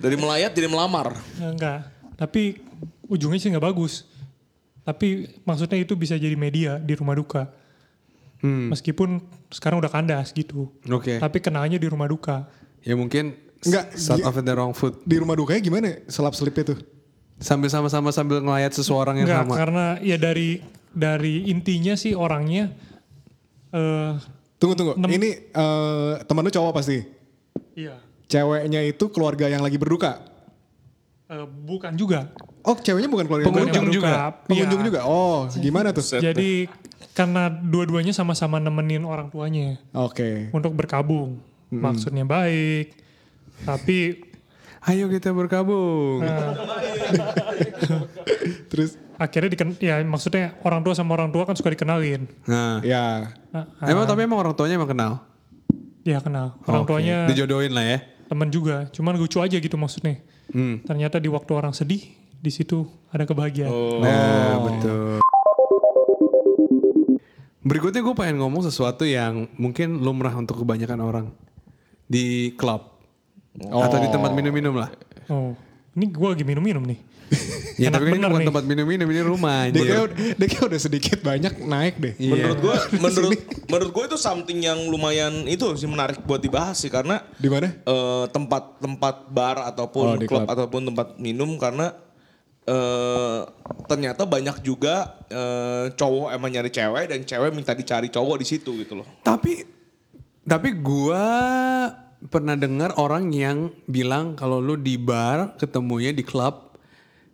Dari melayat jadi melamar.
ya enggak. Tapi ujungnya sih nggak bagus. Tapi maksudnya itu bisa jadi media di rumah duka. Meskipun sekarang udah kandas gitu.
Hmm. oke.
Tapi kenalnya di rumah duka.
Ya mungkin
Enggak, dia-
start off with the wrong foot.
Di rumah dukanya gimana selap selipnya tuh?
Sambil sama-sama sambil ngelayat seseorang yang
Enggak,
sama.
karena ya dari dari intinya sih orangnya eh
Tunggu tunggu,
Nem-
ini eh, temen lu cowok pasti.
iya
Ceweknya itu keluarga yang lagi berduka.
eh, bukan juga.
Oh ceweknya bukan keluarga yang
Bukan
berduka.
yang berduka.
Pengunjung
Iya.
juga. Oh gimana tuh? Oke.
Jadi karena dua-duanya sama-sama nemenin orang tuanya untuk berkabung. Maksudnya baik. Tapi
Ayo kita berkabung.
Terus
akhirnya diken ya maksudnya orang tua sama orang tua kan suka dikenalin.
Nah,
ya
Nah,
emang tapi emang orang tuanya emang kenal.
ya kenal. Orang
Oke.
tuanya
dijodohin lah ya.
temen juga. Cuman lucu aja gitu maksudnya.
Hmm.
Ternyata di waktu orang sedih di situ ada kebahagiaan. Oh,
Nah,
iya.
betul. Berikutnya gue pengen ngomong sesuatu yang mungkin lumrah untuk kebanyakan orang di klub atau di tempat minum-minum lah.
Oh, ini gue lagi minum-minum nih.
Ya,
Enak
tapi kan ini
bener
bukan
nih.
tempat minum-minum, ini rumah.
dia
anjir.
kayak, dia kayak udah sedikit banyak naik deh.
Iya.
Menurut
*laughs*
gue, menurut menurut gue itu something yang lumayan itu sih menarik buat dibahas sih karena
Di mana?
eh, tempat-tempat bar
Oh,
ataupun
di
klub
klub.
ataupun tempat minum karena eh, ternyata banyak juga eh, cowok emang nyari cewek dan cewek minta dicari cowok di situ gitu loh.
Tapi tapi gua pernah dengar orang yang bilang kalau lu di bar ketemunya di klub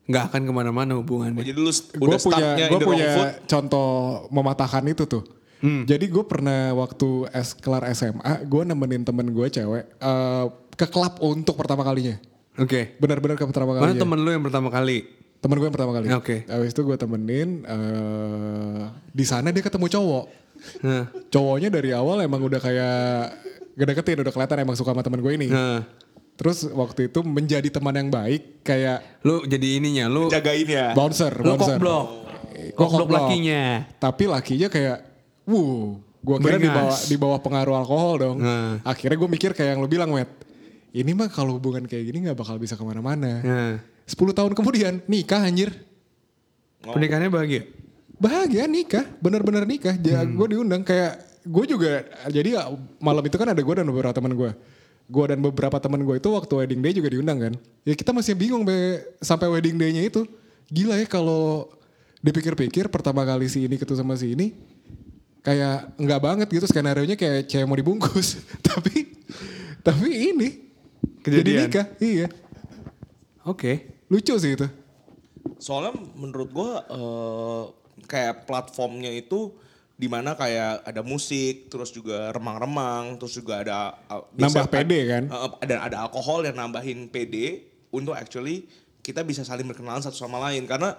nggak akan kemana-mana hubungannya.
Jadi lu s-
gue
udah
punya
startnya in
gue
the wrong Hmm.
punya
foot.
contoh mematahkan itu tuh. Jadi gue pernah waktu es kelar SMA, gue nemenin temen gue cewek eh, ke klub untuk pertama kalinya.
Oke.
Benar-benar ke pertama
Mana
Oh, iya.
kalinya.
temen lu yang pertama kali?
Temen gue yang pertama kali.
Oke.
Abis itu gue temenin eh, di sana dia ketemu cowok.
Nah,
Cowoknya dari awal emang udah kayak gak deketin, udah kelihatan emang suka sama temen gue ini.
nah.
Terus waktu itu menjadi teman yang baik kayak
Lu jadi ininya, lu
Jagain ya.
bouncer,
Nah. lu
bouncer.
kokblok.
Gua
Kokblok
kokblok.
lakinya.
Tapi lakinya kayak, wuh, gue kira di
Beringas.
bawah, di bawah pengaruh alkohol dong.
Nah.
Akhirnya gue mikir kayak yang lo bilang, Matt. Ini mah kalau hubungan kayak gini nggak bakal bisa kemana-mana.
Nah,
10 tahun kemudian nikah anjir.
pernikahannya bahagia.
Bahagia nikah, bener-bener nikah. Ja,
Hmm.
Gue diundang kayak, gue juga, jadi ya, malam itu kan ada gue dan beberapa teman gue. Gue dan beberapa teman gue itu waktu wedding day juga diundang kan. Ya kita masih bingung be, sampai wedding day-nya itu. Gila ya kalau dipikir-pikir pertama kali si ini ketemu sama si ini kayak nggak banget gitu skenario nya kayak cewek mau dibungkus *laughs* tapi tapi ini jadi
Kejadian.
nikah iya
Oke.
lucu sih itu
Soalnya menurut gua eh, kayak platformnya itu di mana kayak ada musik, terus juga remang-remang, terus juga ada eh,
Nambah
bisa-
PD kan?
Eh, dan ada alkohol yang nambahin PD untuk actually kita bisa saling berkenalan satu sama lain karena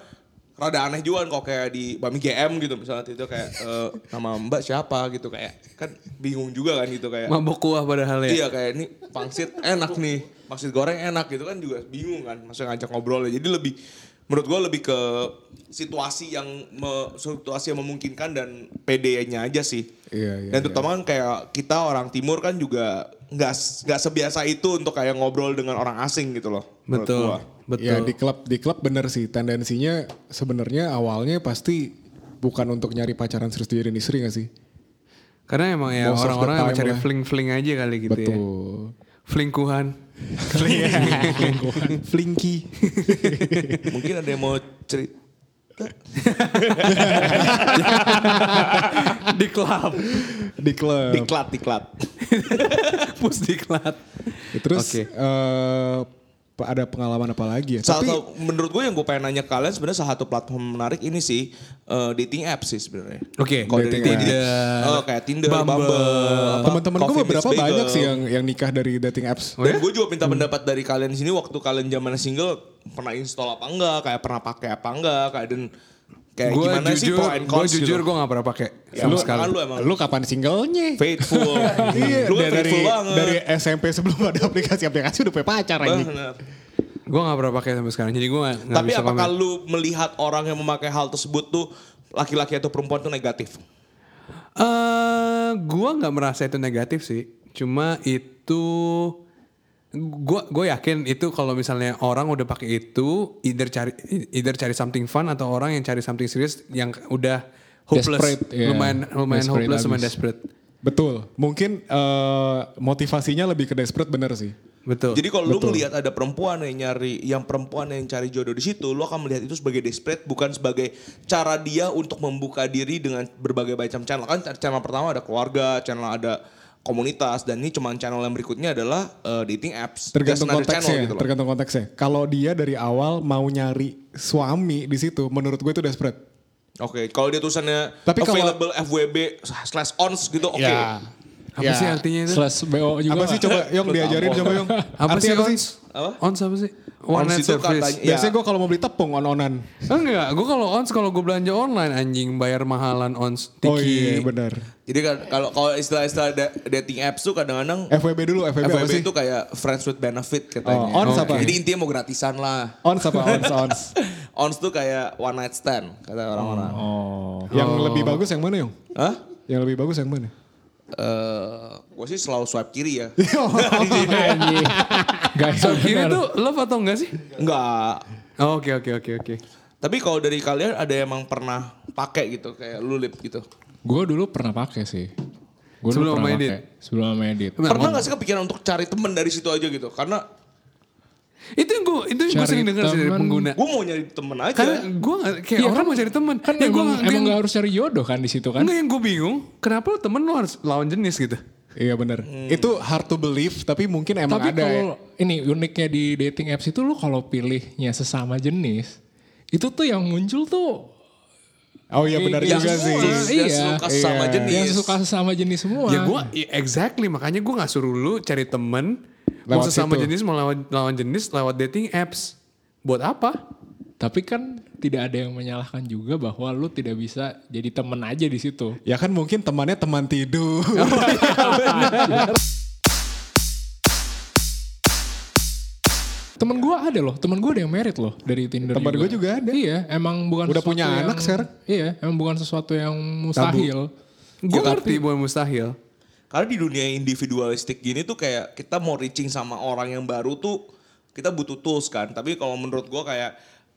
rada aneh juga kan kalau kayak di Bami GM gitu misalnya itu kayak eh, nama Mbak siapa gitu kayak kan bingung juga kan gitu kayak
Mabok kuah padahal ya.
Iya kayak ini pangsit enak nih, pangsit goreng enak gitu kan juga bingung kan, maksudnya ngajak ngobrolnya. Jadi lebih menurut gua lebih ke situasi yang me- situasi yang memungkinkan dan PD-nya aja sih.
Iya, iya,
Dan terutama kan kayak kita orang timur kan juga nggak s- nggak sebiasa itu untuk kayak ngobrol dengan orang asing gitu loh. menurut
Betul.
gua.
Betul.
ya di klub di klub bener sih tendensinya sebenarnya awalnya pasti bukan untuk nyari pacaran serius jadi istri gak sih
Karena emang ya
Most of the
orang-orang emang
time
cari
lah.
fling-fling aja kali gitu ya.
betul
Flingkuhan. *laughs*
flinky
Mungkin ada yang mau cerita
di klub.
di klub
diklat diklat.
Pusdiklat.
terus
Oke.
eh, ada pengalaman apa lagi ya
Salah
tapi
satu- menurut gue yang gue pengen nanya ke kalian sebenarnya salah satu platform menarik ini sih eh, dating apps sih sebenarnya.
Oke,
Kalau dari
dating
Tinder,
apps.
oh, kayak Tinder,
Bumble.
Bumble, apa,
teman-teman gue
Coffee
beberapa
Meets Bagel.
banyak sih yang Oh ya? Hmm. yang nikah dari dating apps
Dan gue juga minta pendapat dari kalian di sini waktu kalian zaman single pernah install apa enggak, kayak pernah pakai apa enggak, kayak dan Kayak
Gue
gimana sih
jujur,
pro and
gue
cons
jujur
gitu.
gue gak pernah pakai
Ya,
sama
lu,
sekali.
kan lu emang
Lu kapan singlenya?
faithful.
*laughs* Iya,
lu kan
dari,
faithful banget.
dari SMP sebelum ada aplikasi-aplikasi udah punya pacar anjing.
Bener.
Gue gak pernah pakai sampai sekarang, jadi gue gak, gak
Tapi
bisa
apakah
komen.
lu melihat orang yang memakai hal tersebut tuh laki-laki atau perempuan tuh negatif?
Eh, gue nggak merasa itu negatif sih. Cuma itu gue gue yakin itu kalau misalnya orang udah pakai itu either cari either cari something fun atau orang yang cari something serius yang udah hopeless,
Desperate, iya.
lumayan lumayan
Desperate
hopeless, lumayan
abis.
desperate.
Betul. Mungkin eh, motivasinya lebih ke desperate bener sih.
Betul.
Jadi kalau lu melihat ada perempuan yang nyari, yang perempuan yang cari jodoh di situ, lu akan melihat itu sebagai desperate, bukan sebagai cara dia untuk membuka diri dengan berbagai macam channel. Kan channel pertama ada keluarga, channel ada komunitas, dan ini cuman channel yang berikutnya adalah eh, dating apps.
Tergantung
Just another
konteksnya,
channel gitu loh.
tergantung konteksnya. Kalau dia dari awal mau nyari suami di situ, menurut gue itu desperate.
Oke, kalau dia tulisannya
Tapi kalau- Ya.
available FWB slash ons gitu, oke.
apa sih artinya itu?
Slash BO juga
Apa sih
nggak?
coba Yong
Lu
diajarin
tampol.
coba Yong.
Apa sih
Artinya
ons?
Apa?
Ons apa sih? One
Ons
night
itu
service.
katanya- Iya.
Biasanya gue kalau mau beli tepung on-onan.
Enggak, gue kalau ons kalau gue belanja online anjing bayar mahalan ons. Tiki.
Oh iya bener.
Jadi kan kalau kalau istilah-istilah da- dating apps tuh kadang-kadang
FWB dulu, FWB, apa
FWB
sih?
itu kayak friends with benefit katanya.
Oh, ons apa?
Jadi intinya mau gratisan lah.
Ons apa?
*laughs*
Ons, ons.
Ons tuh kayak one night stand kata orang-orang.
Oh.
Yang lebih bagus yang mana Yong?
Hah?
Yang lebih bagus yang
*laughs*
mana?
Eh, gue sih selalu swipe kiri
*laughs*
ya.
Gaya
So, kira
bener.
itu love atau enggak sih?
Enggak.
Oh, Oke oke oke oke.
Tapi kalau dari kalian ada yang emang pernah pakai gitu kayak lu lip gitu.
Gue dulu pernah pakai sih. Gua dulu
Sebelum
pernah
sama Edit?
pakai. Sebelum sama Edit.
Pernah gak sih kepikiran untuk cari temen dari situ aja gitu? Karena
Itu yang gue itu yang gue
Cari
sering dengar sih dari
teman.
pengguna.
gue mau nyari temen aja.
Karena gue kayak orang mau cari teman.
Kan
ya, gua
emang,
nggak-
emang
yang-
gak harus cari jodoh kan di situ kan?
Enggak yang gue bingung, kenapa lu temen lu harus lawan jenis gitu?
Iya bener.
Hmm.
Itu hard to believe tapi mungkin emang ada
Tapi
ya.
kalau ini uniknya di dating apps itu lu kalau pilihnya sesama jenis, itu tuh yang muncul tuh
Oh iya benar
yang
juga
semua,
sih.
Yang
Iya,
suka sama
iya.
jenis.
Yang suka sesama jenis semua.
Ya gue exactly makanya gue nggak suruh lu cari temen mau
Lewat
sesama
situ.
jenis mau lawan lawan jenis lewat dating apps. Buat apa?
Tapi kan tidak ada yang menyalahkan juga bahwa lu tidak bisa jadi temen aja di situ.
Ya kan mungkin temannya teman tidur.
Temen gue ada loh, temen gue ada yang merit loh dari Tinder.
Temen gua juga ada.
Iya, emang bukan
Udah
sesuatu
punya
yang-
anak sekarang.
Iya, emang bukan sesuatu yang mustahil.
Gue ngerti bukan mustahil.
Karena di dunia individualistik gini tuh kayak kita mau reaching sama orang yang baru tuh kita butuh tools kan. Tapi kalau menurut gua kayak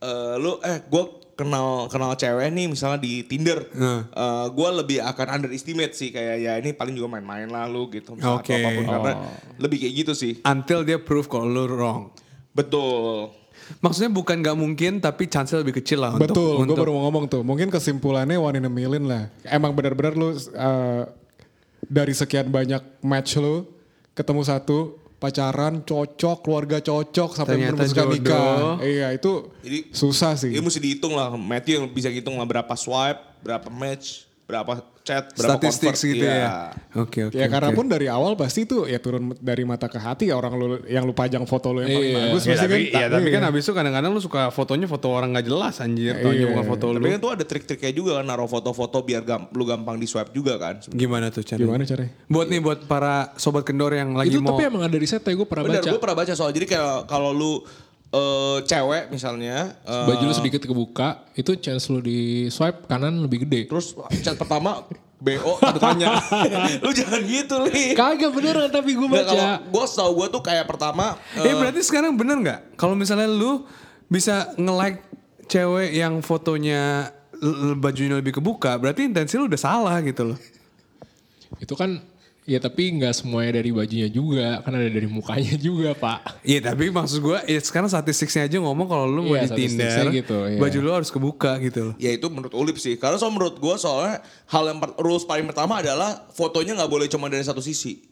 eh, lu eh gua kenal kenal cewek nih misalnya di Tinder.
Nah.
Eh, gua lebih akan underestimate sih kayak ya ini paling juga main-main lah lu gitu misalnya
Oke. Oh.
atau apapun karena lebih kayak gitu sih.
Until dia prove kalau lu wrong.
Betul.
Maksudnya bukan nggak mungkin tapi chance lebih kecil lah untuk
Betul, gue
untuk
baru mau ngomong tuh. Mungkin kesimpulannya one in a million lah. Emang benar-benar lu uh, dari sekian banyak match lu ketemu satu pacaran cocok, keluarga cocok sampai
Ternyata
merumuskan
jodoh.
nikah. Iya, itu
Jadi
susah sih.
Ini mesti dihitung lah Matthew yang bisa hitung lah berapa swipe, berapa match, berapa chat, berapa
statistik
convert.
gitu
Iya.
ya. Oke oke.
Ya karena
oke.
pun dari awal pasti tuh ya turun dari mata ke hati ya orang lu yang lu pajang foto lu yang paling
Iya.
bagus
Ya,
pasti
tapi,
kan.
ya, tapi kan abis itu kadang-kadang lu suka fotonya foto orang nggak jelas anjir. Taunya bukan foto lu.
Tapi kan tuh ada trik-triknya juga kan naruh foto-foto biar gam- lu gampang di swipe juga kan.
Gimana tuh caranya?
Gimana caranya?
Buat nih buat para sobat kendor yang lagi
Itu
mau
tapi emang ada risetnya gue pernah
Bener,
baca.
gue pernah baca soal jadi kayak kalau lu eh, cewek misalnya eh,
Baju lu sedikit kebuka, itu chance lu di swipe kanan lebih gede.
terus chat pertama BO tanda tanya. kan, ya. lu jangan gitu, Li.
Kagak beneran tapi gue
Nggak, kalau
baca.
gue tau gue tuh kayak pertama
Eh berarti sekarang bener nggak? Kalau misalnya lu bisa nge-like cewek yang fotonya l- l- bajunya lebih kebuka, berarti intensi lu udah salah gitu loh.
Itu kan ya tapi nggak semuanya dari bajunya juga, kan ada dari mukanya juga pak.
Iya tapi maksud gua ya sekarang statistiknya aja ngomong kalau lu mau
Iya,
di Tinder,
statistiknya gitu, iya.
baju lu harus kebuka gitu loh.
ya itu menurut Ulip sih. Karena soal menurut gue soalnya hal yang per- rules paling pertama adalah fotonya nggak boleh cuma dari satu sisi.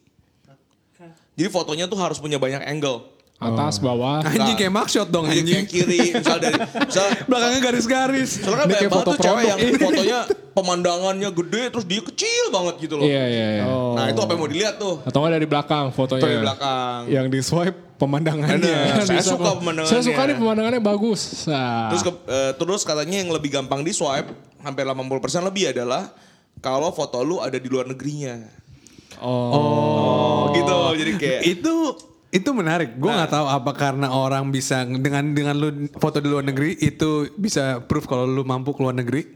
Jadi fotonya tuh harus punya banyak angle.
Atas,
Oh.
bawah.
Anjing kayak mugshot dong
Jadi
anjing.
kayak kiri, misal dari misal
Belakangnya garis-garis.
Soalnya kan
Ini
banyak
kayak
banget
foto
tuh cewek yang
produk.
fotonya pemandangannya gede terus dia kecil banget gitu loh.
Iya, iya, iya.
Nah itu apa yang mau dilihat tuh?
Atau nggak dari belakang fotonya.
Dari belakang.
Yang di swipe pemandangannya.
Bener. Saya
Iya. Bisa,
suka
Pak.
pemandangannya.
Saya suka nih pemandangannya bagus. Nah,
Terus ke- eh, terus katanya yang lebih gampang di swipe hampir 80% lebih adalah kalau foto lu ada di luar negerinya. Oh. gitu. Jadi kayak
itu itu menarik. Gue nggak tahu apa karena orang bisa dengan dengan lu foto di luar negeri itu bisa proof kalau lu mampu ke luar negeri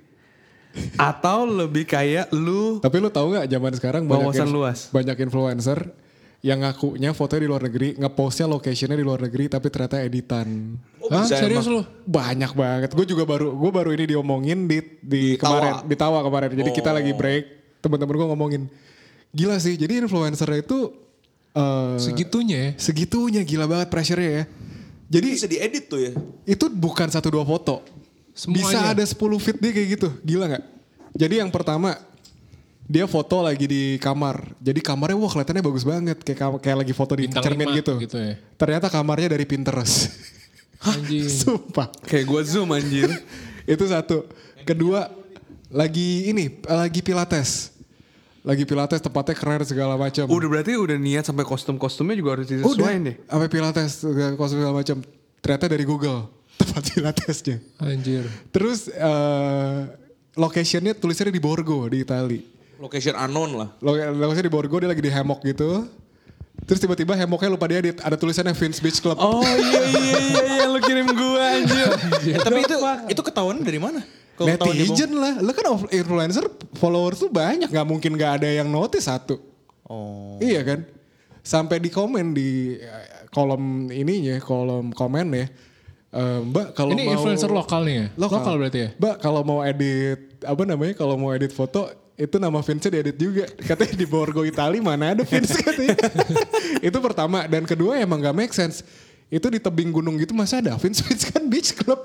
atau lebih kayak lu
Tapi lu tahu nggak zaman sekarang banyak
Wawasan luas.
banyak influencer yang ngakunya fotonya di luar negeri, ngepostnya locationnya di luar negeri, tapi ternyata editan.
Oh,
Hah,
bisa
serius lu?
emang.
Banyak banget. Gue juga baru gue baru ini diomongin di di, kemarin
Tawa.
di Tawa kemarin. Jadi kita
Oh.
lagi break, teman-teman gue ngomongin. Gila sih. Jadi influencer itu eh,
segitunya ya.
segitunya gila banget pressure-nya ya. Jadi
bisa diedit tuh ya.
itu bukan satu dua foto. Bisa
Semuanya.
ada 10 feet dia kayak gitu. Gila nggak? Jadi yang pertama dia foto lagi di kamar. Jadi kamarnya wah kelihatannya bagus banget kayak kam- kayak lagi foto di
Bintang
cermin
lima
gitu.
gitu ya. Iya.
Ternyata kamarnya dari Pinterest.
Anjing.
*laughs* Sumpah.
kayak gue zoom anjir.
Itu satu. Kedua lagi ini lagi pilates. Lagi pilates tempatnya keren segala macam.
udah berarti udah niat sampai kostum-kostumnya juga harus disesuaikan deh.
Sampai pilates segala- segala macam. Ternyata dari Google tempat pilatesnya.
Anjir.
Terus eh locationnya tulisannya di Borgo di Itali.
Location unknown lah.
Lo- Lokasinya di Borgo dia lagi di hemok gitu. Terus tiba-tiba hemoknya lupa dia edit. Ada tulisannya Vince Beach Club.
Oh iya iya iya iya lu kirim gue anjir.
Eh, tapi itu itu ketahuan dari mana? Kalau ketahuan dia bohong.
Netizen lah. Lo kan of- influencer followers tuh banyak. Gak mungkin gak ada yang notice satu.
Oh.
Iya kan? Sampai di komen di eh, kolom ininya, kolom komen ya. Eh, Mbak kalau
Ini
mau-
influencer lokal nih ya? Lokal berarti ya?
Mbak kalau mau edit apa namanya kalau mau edit foto itu nama Vince diedit juga. Katanya di Borgo Itali mana ada Vince katanya. *laughs* itu pertama dan kedua emang gak make sense. Itu di tebing gunung gitu masa ada Vince *laughs* Vince kan beach club.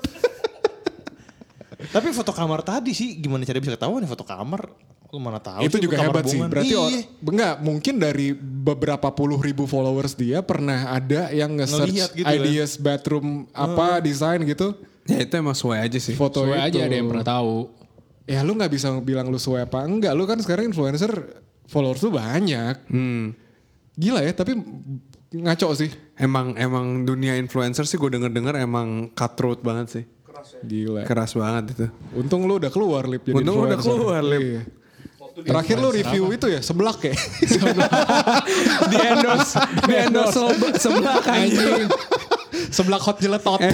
Tapi foto kamar tadi sih gimana cara bisa ketahuan ya foto kamar? Lu mana tahu?
itu
sih,
juga
kamar
hebat sih.
bungan.
Berarti or-
Iya.
enggak mungkin dari beberapa puluh ribu followers dia pernah ada yang
Ngelihat
nge-search
gitu kan.
ideas bathroom apa desain gitu
Ya itu emang sesuai aja sih.
foto itu.
Sesuai aja ada yang pernah tahu.
ya lu nggak bisa bilang lu sesuai apa enggak lu kan sekarang influencer followers lu banyak
Hmm.
gila ya tapi ngaco sih
Emang emang dunia influencer sih gue denger-denger emang cutthroat banget sih.
gila
Keras banget itu.
untung lu udah keluar lip jadi
Untung lu udah
influencer.
keluar, Lip.
Iya. terakhir lu review itu ya seblak ya
di endorse di endorse sebelah
seblak hot jeletot